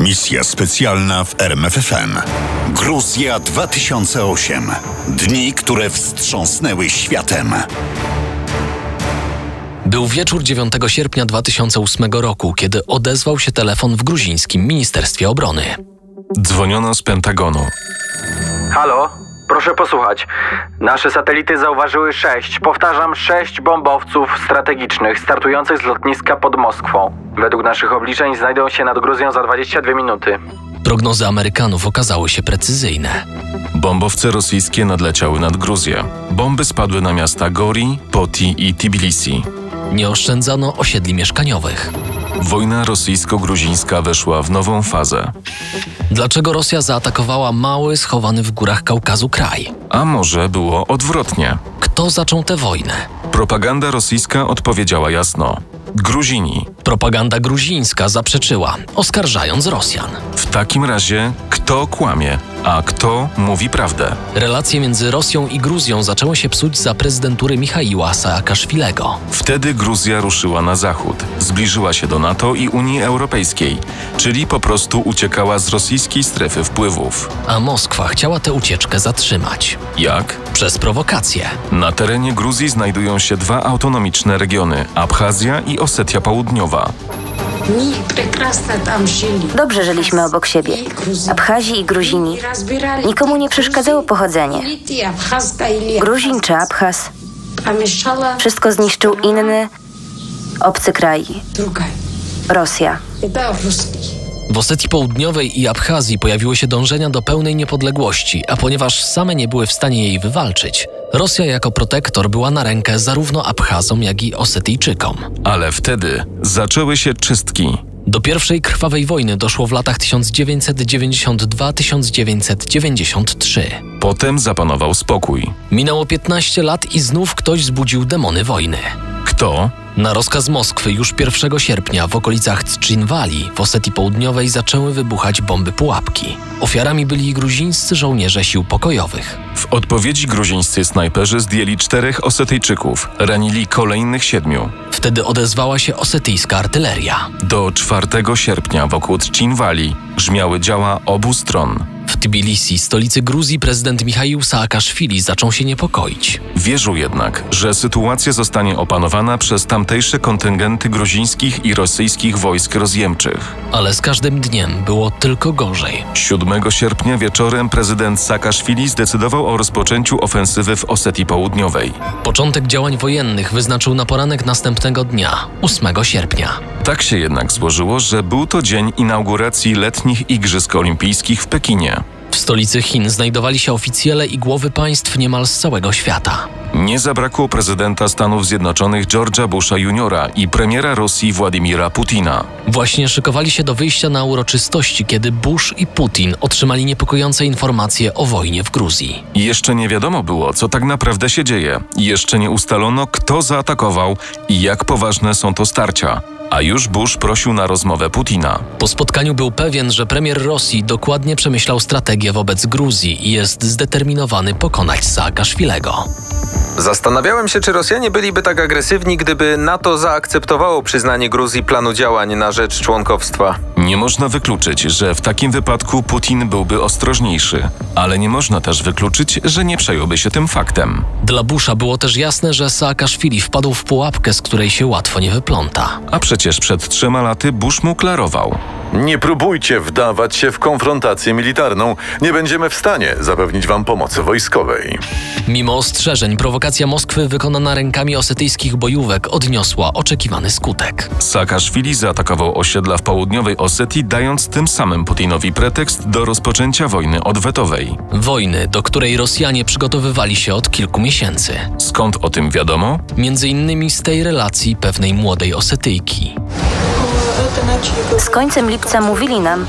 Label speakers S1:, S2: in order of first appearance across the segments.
S1: Misja specjalna w RMFFM. Gruzja 2008. Dni, które wstrząsnęły światem.
S2: Był wieczór 9 sierpnia 2008 roku, kiedy odezwał się telefon w gruzińskim Ministerstwie Obrony.
S3: Dzwoniono z Pentagonu.
S4: Halo? Proszę posłuchać. Nasze satelity zauważyły sześć, powtarzam, sześć bombowców strategicznych startujących z lotniska pod Moskwą. Według naszych obliczeń znajdą się nad Gruzją za 22 minuty.
S2: Prognozy Amerykanów okazały się precyzyjne.
S3: Bombowce rosyjskie nadleciały nad Gruzję. Bomby spadły na miasta Gori, Poti i Tbilisi.
S2: Nie oszczędzano osiedli mieszkaniowych.
S3: Wojna rosyjsko-gruzińska weszła w nową fazę.
S2: Dlaczego Rosja zaatakowała mały, schowany w górach Kaukazu kraj?
S3: A może było odwrotnie?
S2: Kto zaczął tę wojnę?
S3: Propaganda rosyjska odpowiedziała jasno. Gruzini.
S2: Propaganda gruzińska zaprzeczyła, oskarżając Rosjan.
S3: W takim razie kto kłamie, a kto mówi prawdę?
S2: Relacje między Rosją i Gruzją zaczęły się psuć za prezydentury Michaiła Saakaszwilego.
S3: Wtedy Gruzja ruszyła na zachód, zbliżyła się do NATO i Unii Europejskiej, czyli po prostu uciekała z rosyjskiej strefy wpływów.
S2: a Moskwa chciała tę ucieczkę zatrzymać
S3: Jak?
S2: przez prowokację.
S3: Na terenie Gruzji znajdują się dwa autonomiczne regiony Abchazja i Osetia Południowa.
S5: Oni прекрасно tam żyli.
S6: Dobrze żyliśmy obok siebie. Abchazi i Gruzini. Nikomu nie przeszkadzało pochodzenie. Gruzin czy Abchaz.
S5: Pomieszczała
S6: Wszystko zniszczył inny, obcy kraj.
S5: druga.
S6: Rosja.
S5: Białoruski.
S2: W Osetii Południowej i Abchazji pojawiły się dążenia do pełnej niepodległości, a ponieważ same nie były w stanie jej wywalczyć, Rosja jako protektor była na rękę zarówno Abchazom, jak i Osetyjczykom.
S3: Ale wtedy zaczęły się czystki.
S2: Do pierwszej krwawej wojny doszło w latach 1992-1993.
S3: Potem zapanował spokój.
S2: Minęło 15 lat i znów ktoś zbudził demony wojny.
S3: Kto?
S2: Na rozkaz Moskwy już 1 sierpnia w okolicach Trzcinwali w Osetii Południowej zaczęły wybuchać bomby pułapki. Ofiarami byli gruzińscy żołnierze sił pokojowych.
S3: W odpowiedzi gruzińscy snajperzy zdjęli czterech Osetyjczyków, ranili kolejnych siedmiu.
S2: Wtedy odezwała się osetyjska artyleria.
S3: Do 4 sierpnia wokół Trzcinwali grzmiały działa obu stron.
S2: W Tbilisi, stolicy Gruzji, prezydent Michaił Saakaszwili zaczął się niepokoić.
S3: Wierzył jednak, że sytuacja zostanie opanowana przez tamtejsze kontyngenty gruzińskich i rosyjskich wojsk rozjemczych.
S2: Ale z każdym dniem było tylko gorzej.
S3: 7 sierpnia wieczorem prezydent Saakaszwili zdecydował o rozpoczęciu ofensywy w Osetii Południowej.
S2: Początek działań wojennych wyznaczył na poranek następnego dnia, 8 sierpnia.
S3: Tak się jednak złożyło, że był to dzień inauguracji letnich Igrzysk Olimpijskich w Pekinie.
S2: W stolicy Chin znajdowali się oficjele i głowy państw niemal z całego świata.
S3: Nie zabrakło prezydenta Stanów Zjednoczonych George'a Busha Jr. i premiera Rosji Władimira Putina.
S2: Właśnie szykowali się do wyjścia na uroczystości, kiedy Bush i Putin otrzymali niepokojące informacje o wojnie w Gruzji.
S3: Jeszcze nie wiadomo było, co tak naprawdę się dzieje. Jeszcze nie ustalono, kto zaatakował i jak poważne są to starcia. A już Bush prosił na rozmowę Putina.
S2: Po spotkaniu był pewien, że premier Rosji dokładnie przemyślał strategię wobec Gruzji i jest zdeterminowany pokonać Saakaszwilego.
S7: Zastanawiałem się, czy Rosjanie byliby tak agresywni, gdyby NATO zaakceptowało przyznanie Gruzji planu działań na rzecz członkowstwa.
S3: Nie można wykluczyć, że w takim wypadku Putin byłby ostrożniejszy, ale nie można też wykluczyć, że nie przejąłby się tym faktem.
S2: Dla Busha było też jasne, że Saakaszwili wpadł w pułapkę, z której się łatwo nie wypląta.
S3: A przecież przed trzema laty Bush mu klarował.
S8: Nie próbujcie wdawać się w konfrontację militarną. Nie będziemy w stanie zapewnić wam pomocy wojskowej.
S2: Mimo ostrzeżeń, prowokacja Moskwy wykonana rękami osetyjskich bojówek odniosła oczekiwany skutek.
S3: Saakaszwili zaatakował osiedla w południowej Osetii, dając tym samym Putinowi pretekst do rozpoczęcia wojny odwetowej.
S2: Wojny, do której Rosjanie przygotowywali się od kilku miesięcy.
S3: Skąd o tym wiadomo?
S2: Między innymi z tej relacji pewnej młodej Osetyjki.
S6: Z końcem lipca mówili nam,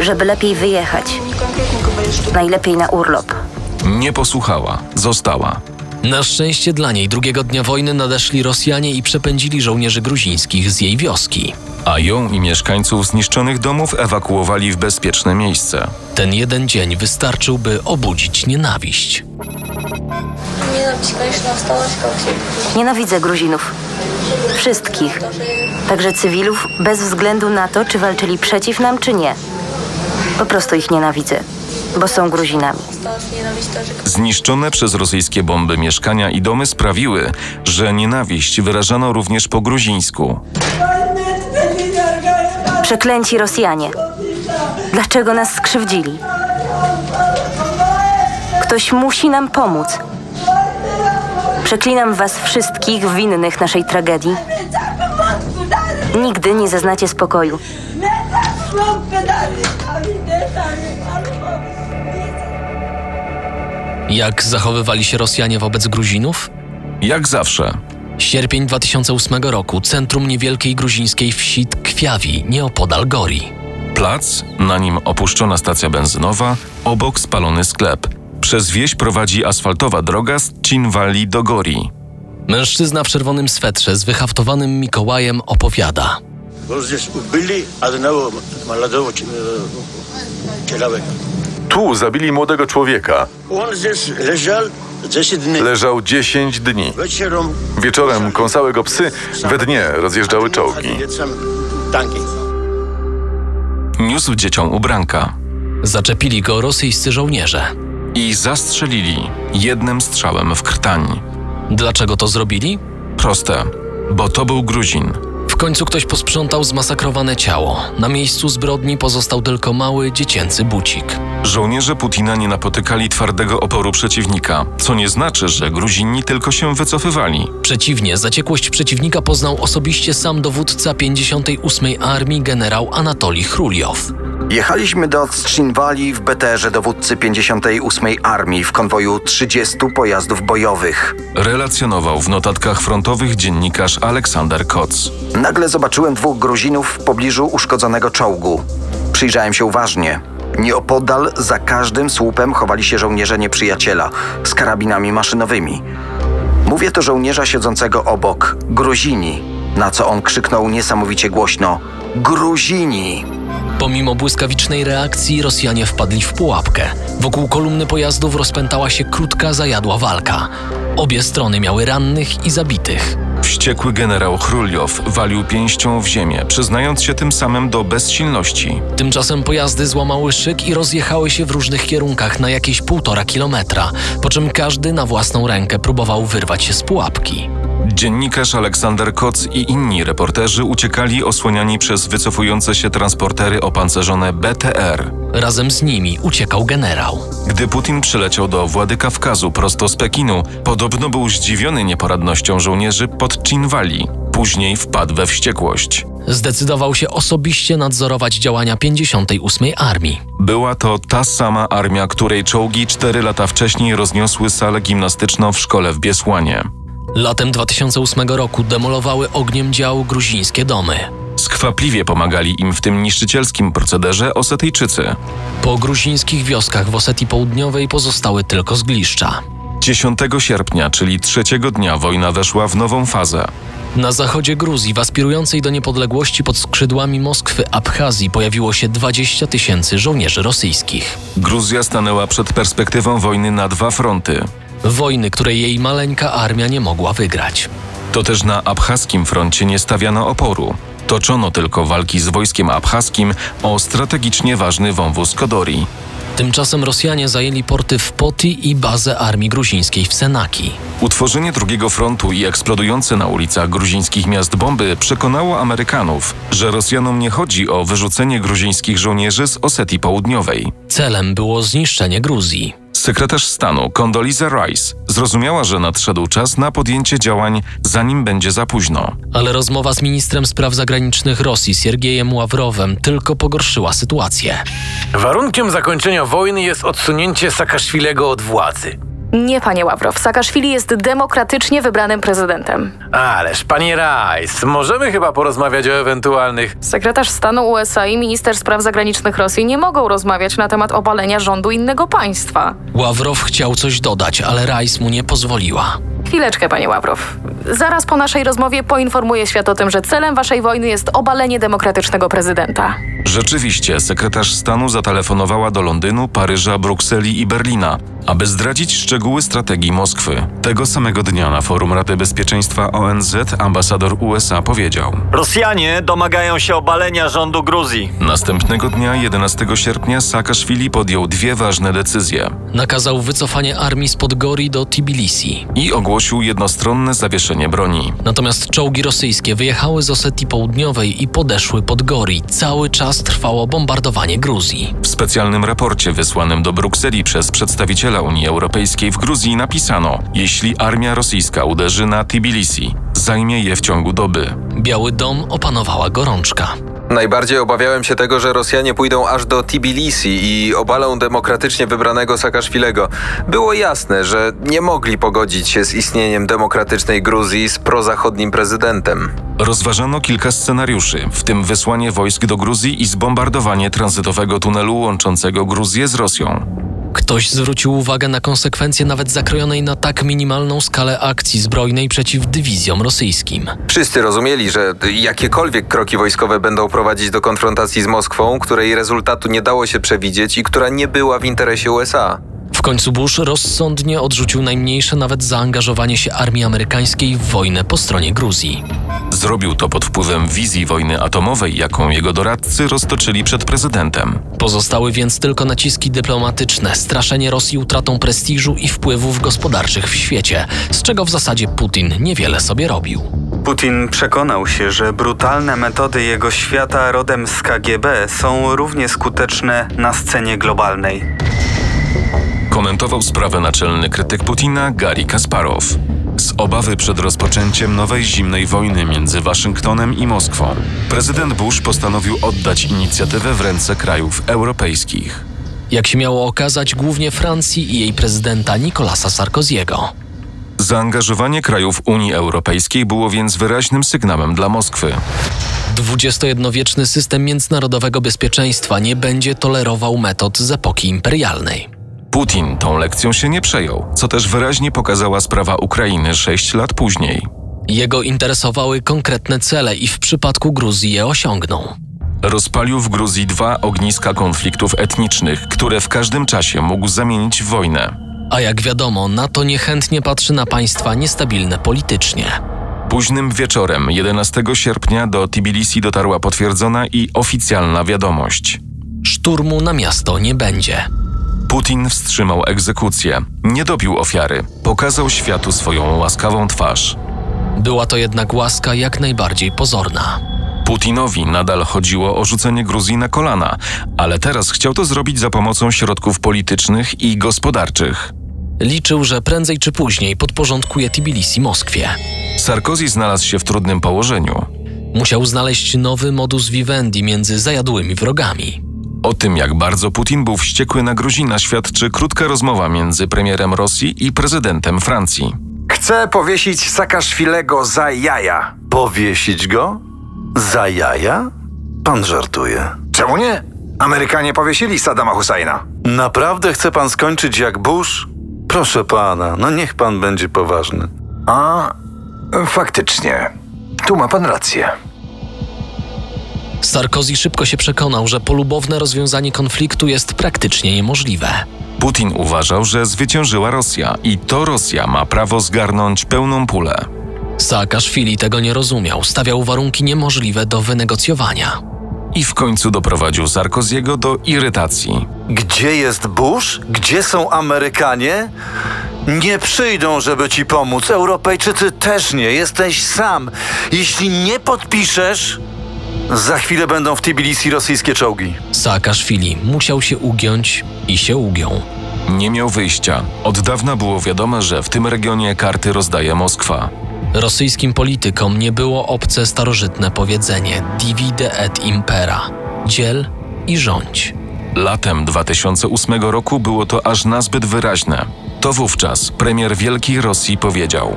S6: żeby lepiej wyjechać. Najlepiej na urlop.
S3: Nie posłuchała, została.
S2: Na szczęście dla niej drugiego dnia wojny nadeszli Rosjanie i przepędzili żołnierzy gruzińskich z jej wioski.
S3: a ją i mieszkańców zniszczonych domów ewakuowali w bezpieczne miejsce.
S2: Ten jeden dzień wystarczył, by obudzić nienawiść.
S6: Nienawidzę Gruzinów. Wszystkich. Także cywilów, bez względu na to, czy walczyli przeciw nam, czy nie. Po prostu ich nienawidzę, bo są Gruzinami.
S3: Zniszczone przez rosyjskie bomby mieszkania i domy sprawiły, że nienawiść wyrażano również po gruzińsku.
S6: Przeklęci Rosjanie. Dlaczego nas skrzywdzili? Ktoś musi nam pomóc. Przeklinam was wszystkich winnych naszej tragedii.
S9: tak
S6: Nigdy nie zaznacie spokoju.
S2: Jak zachowywali się Rosjanie wobec Gruzinów?
S3: Jak zawsze,
S2: Sierpień 2008 roku, centrum niewielkiej gruzińskiej wsi Tkwiawi, nieopodal Gori.
S3: plac, na nim opuszczona stacja benzynowa, obok spalony sklep. Przez wieś prowadzi asfaltowa droga z Cinwali do Gori.
S2: Mężczyzna w czerwonym swetrze z wyhaftowanym Mikołajem opowiada.
S10: Вот здесь убили одного молодого ч- э, человека.
S8: Tu zabili młodego człowieka.
S10: Он здесь лежал 10 дней.
S8: Leżał 10 dni.
S10: Вечером
S8: Wieczorem kąsały go psy, we dnie rozjeżdżały
S10: от него
S8: czołgi.
S10: отходили сам танки.
S3: Niósł dzieciom ubranka
S2: Zaczepili go rosyjscy żołnierze.
S3: i zastrzelili jednym strzałem w krtań.
S2: Dlaczego to zrobili?
S3: Proste, bo to był Gruzin.
S2: W końcu ktoś posprzątał zmasakrowane ciało. Na miejscu zbrodni pozostał tylko mały dziecięcy bucik.
S3: Żołnierze Putina nie napotykali twardego oporu przeciwnika, co nie znaczy, że Gruzini tylko się wycofywali.
S2: Przeciwnie, zaciekłość przeciwnika poznał osobiście sam dowódca 58. Armii generał Anatolij Chruliow.
S9: Jechaliśmy do Trzcinwali w BTR-ze dowódcy 58. Armii w konwoju 30 pojazdów bojowych.
S3: Relacjonował w notatkach frontowych dziennikarz Aleksander Koc.
S9: Nagle zobaczyłem dwóch Gruzinów w pobliżu uszkodzonego czołgu. Przyjrzałem się uważnie. Nieopodal za każdym słupem chowali się żołnierze nieprzyjaciela z karabinami maszynowymi. Mówię to żołnierza siedzącego obok, Gruzini, na co on krzyknął niesamowicie głośno: Gruzini!
S2: Pomimo błyskawicznej reakcji Rosjanie wpadli w pułapkę. Wokół kolumny pojazdów rozpętała się krótka, zajadła walka. Obie strony miały rannych i zabitych.
S3: Wściekły generał Chruliow walił pięścią w ziemię, przyznając się tym samym do bezsilności.
S2: Tymczasem pojazdy złamały szyk i rozjechały się w różnych kierunkach na jakieś półtora kilometra, po czym każdy na własną rękę próbował wyrwać się z pułapki.
S3: Dziennikarz Aleksander Koc i inni reporterzy uciekali osłaniani przez wycofujące się transportery opancerzone BTR.
S2: Razem z nimi uciekał generał.
S3: Gdy Putin przyleciał do władzy Kawkazu prosto z Pekinu, podobno był zdziwiony nieporadnością żołnierzy pod Cinwali. Później wpadł we wściekłość.
S2: Zdecydował się osobiście nadzorować działania 58. Armii.
S3: Była to ta sama armia, której czołgi cztery lata wcześniej rozniosły salę gimnastyczną w szkole w Biesłanie.
S2: Latem 2008 roku demolowały ogniem dział gruzińskie domy.
S3: Skwapliwie pomagali im w tym niszczycielskim procederze Osetyjczycy.
S2: Po gruzińskich wioskach w Osetii Południowej pozostały tylko zgliszcza.
S3: 10 sierpnia, czyli trzeciego dnia, wojna weszła w nową fazę.
S2: Na zachodzie Gruzji, w aspirującej do niepodległości pod skrzydłami Moskwy Abchazji, pojawiło się 20 tysięcy żołnierzy rosyjskich.
S3: Gruzja stanęła przed perspektywą wojny na dwa fronty.
S2: Wojny, której jej maleńka armia nie mogła wygrać.
S3: To też na abchaskim froncie nie stawiano oporu. Toczono tylko walki z wojskiem abchaskim o strategicznie ważny wąwóz Kodori.
S2: Tymczasem Rosjanie zajęli porty w Poti i bazę armii gruzińskiej w Senaki.
S3: Utworzenie drugiego frontu i eksplodujące na ulicach gruzińskich miast bomby przekonało Amerykanów, że Rosjanom nie chodzi o wyrzucenie gruzińskich żołnierzy z Osetii Południowej.
S2: Celem było zniszczenie Gruzji.
S3: Sekretarz stanu Condoleezza Rice zrozumiała, że nadszedł czas na podjęcie działań, zanim będzie za późno.
S2: Ale rozmowa z ministrem spraw zagranicznych Rosji Siergiejem Ławrowem tylko pogorszyła sytuację.
S11: Warunkiem zakończenia wojny jest odsunięcie Saakaszwilego od władzy. Nie, panie Ławrow, Saakaszwili jest demokratycznie wybranym prezydentem.
S12: Ależ, panie Rajs, możemy chyba porozmawiać o ewentualnych...
S11: Sekretarz stanu USA i minister spraw zagranicznych Rosji nie mogą rozmawiać na temat obalenia rządu innego państwa.
S2: Ławrow chciał coś dodać, ale Rajs mu nie pozwoliła.
S11: Chwileczkę, panie Ławrow. Zaraz po naszej rozmowie poinformuję świat o tym, że celem waszej wojny jest obalenie demokratycznego prezydenta.
S3: Rzeczywiście, sekretarz stanu zatelefonowała do Londynu, Paryża, Brukseli i Berlina, aby zdradzić szczegóły strategii Moskwy. Tego samego dnia na forum Rady Bezpieczeństwa ONZ ambasador USA powiedział:
S13: Rosjanie domagają się obalenia rządu Gruzji.
S3: Następnego dnia, 11 sierpnia, Saakaszwili podjął dwie ważne decyzje
S2: Nakazał wycofanie armii z Podgori do Tbilisi.
S3: i ogłosił jednostronne zawieszenie broni.
S2: Natomiast czołgi rosyjskie wyjechały z Osetii Południowej i podeszły pod Gori. Cały czas trwało bombardowanie Gruzji.
S3: W specjalnym raporcie wysłanym do Brukseli przez przedstawiciela Unii Europejskiej w Gruzji napisano: Jeśli armia rosyjska uderzy na Tbilisi, zajmie je w ciągu doby.
S2: Biały Dom opanowała gorączka.
S7: Najbardziej obawiałem się tego, że Rosjanie pójdą aż do Tbilisi i obalą demokratycznie wybranego Saakaszwilego. Było jasne, że nie mogli pogodzić się z istnieniem demokratycznej Gruzji z prozachodnim prezydentem.
S3: Rozważano kilka scenariuszy, w tym wysłanie wojsk do Gruzji i zbombardowanie tranzytowego tunelu łączącego Gruzję z Rosją.
S2: Ktoś zwrócił uwagę na konsekwencje nawet zakrojonej na tak minimalną skalę akcji zbrojnej przeciw dywizjom rosyjskim.
S7: Wszyscy rozumieli, że jakiekolwiek kroki wojskowe będą prowadzić do konfrontacji z Moskwą, której rezultatu nie dało się przewidzieć i która nie była w interesie USA.
S2: W końcu Bush rozsądnie odrzucił najmniejsze nawet zaangażowanie się armii amerykańskiej w wojnę po stronie Gruzji.
S3: Zrobił to pod wpływem wizji wojny atomowej, jaką jego doradcy roztoczyli przed prezydentem.
S2: Pozostały więc tylko naciski dyplomatyczne, straszenie Rosji utratą prestiżu i wpływów gospodarczych w świecie, z czego w zasadzie Putin niewiele sobie robił.
S14: Putin przekonał się, że brutalne metody jego świata rodem z KGB są równie skuteczne na scenie globalnej.
S3: Komentował sprawę naczelny krytyk Putina Gary Kasparow. Z obawy przed rozpoczęciem nowej zimnej wojny między Waszyngtonem i Moskwą, prezydent Bush postanowił oddać inicjatywę w ręce krajów europejskich.
S2: Jak się miało okazać, głównie Francji i jej prezydenta Nicolasa Sarkoziego.
S3: Zaangażowanie krajów Unii Europejskiej było więc wyraźnym sygnałem dla Moskwy.
S2: 21-wieczny system międzynarodowego bezpieczeństwa nie będzie tolerował metod z epoki imperialnej.
S3: Putin tą lekcją się nie przejął, co też wyraźnie pokazała sprawa Ukrainy sześć lat później.
S2: Jego interesowały konkretne cele i w przypadku Gruzji je osiągnął.
S3: Rozpalił w Gruzji dwa ogniska konfliktów etnicznych, które w każdym czasie mógł zamienić w wojnę.
S2: A jak wiadomo, NATO niechętnie patrzy na państwa niestabilne politycznie.
S3: Późnym wieczorem 11 sierpnia do Tbilisi dotarła potwierdzona i oficjalna wiadomość.
S2: Szturmu na miasto nie będzie.
S3: Putin wstrzymał egzekucję, nie dobił ofiary, pokazał światu swoją łaskawą twarz.
S2: Była to jednak łaska jak najbardziej pozorna.
S3: Putinowi nadal chodziło o rzucenie Gruzji na kolana, ale teraz chciał to zrobić za pomocą środków politycznych i gospodarczych.
S2: Liczył, że prędzej czy później podporządkuje Tbilisi Moskwie.
S3: Sarkozy znalazł się w trudnym położeniu.
S2: Musiał znaleźć nowy modus vivendi między zajadłymi wrogami.
S3: O tym, jak bardzo Putin był wściekły na Gruzina, świadczy krótka rozmowa między premierem Rosji i prezydentem Francji.
S15: Chcę powiesić Saakaszwilego za jaja.
S8: Powiesić go? Za jaja? Pan żartuje.
S15: Czemu nie? Amerykanie powiesili Saddama Husajna.
S8: Naprawdę chce pan skończyć jak Bush? Proszę pana, no niech pan będzie poważny.
S15: A, faktycznie. Tu ma pan rację.
S2: Sarkozy szybko się przekonał, że polubowne rozwiązanie konfliktu jest praktycznie niemożliwe.
S3: Putin uważał, że zwyciężyła Rosja i to Rosja ma prawo zgarnąć pełną pulę.
S2: Saakaszwili tego nie rozumiał, stawiał warunki niemożliwe do wynegocjowania.
S3: I w końcu doprowadził Sarkoziego do irytacji.
S13: Gdzie jest Bush? Gdzie są Amerykanie? Nie przyjdą, żeby ci pomóc. Europejczycy też nie. Jesteś sam. Jeśli nie podpiszesz, za chwilę będą w Tbilisi rosyjskie czołgi.
S2: Saakaszwili musiał się ugiąć i się ugiął.
S3: Nie miał wyjścia. Od dawna było wiadomo, że w tym regionie karty rozdaje Moskwa.
S2: Rosyjskim politykom nie było obce starożytne powiedzenie divide et impera dziel i rządź.
S3: Latem 2008 roku było to aż nazbyt wyraźne.
S16: To wówczas premier Wielkiej Rosji powiedział: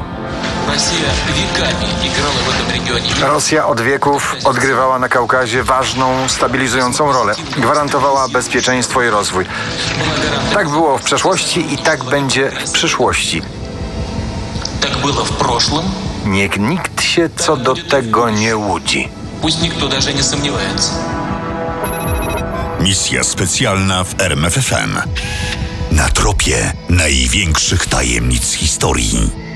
S3: Rosja od wieków odgrywała na Kaukazie ważną, stabilizującą rolę. Gwarantowała bezpieczeństwo i rozwój. Tak było w przeszłości i tak będzie w przyszłości. Niech nikt się co do tego nie łudzi.
S9: Пусть никто даже не сомневается.
S1: Misja specjalna w RMFFM. Na tropie największych tajemnic historii.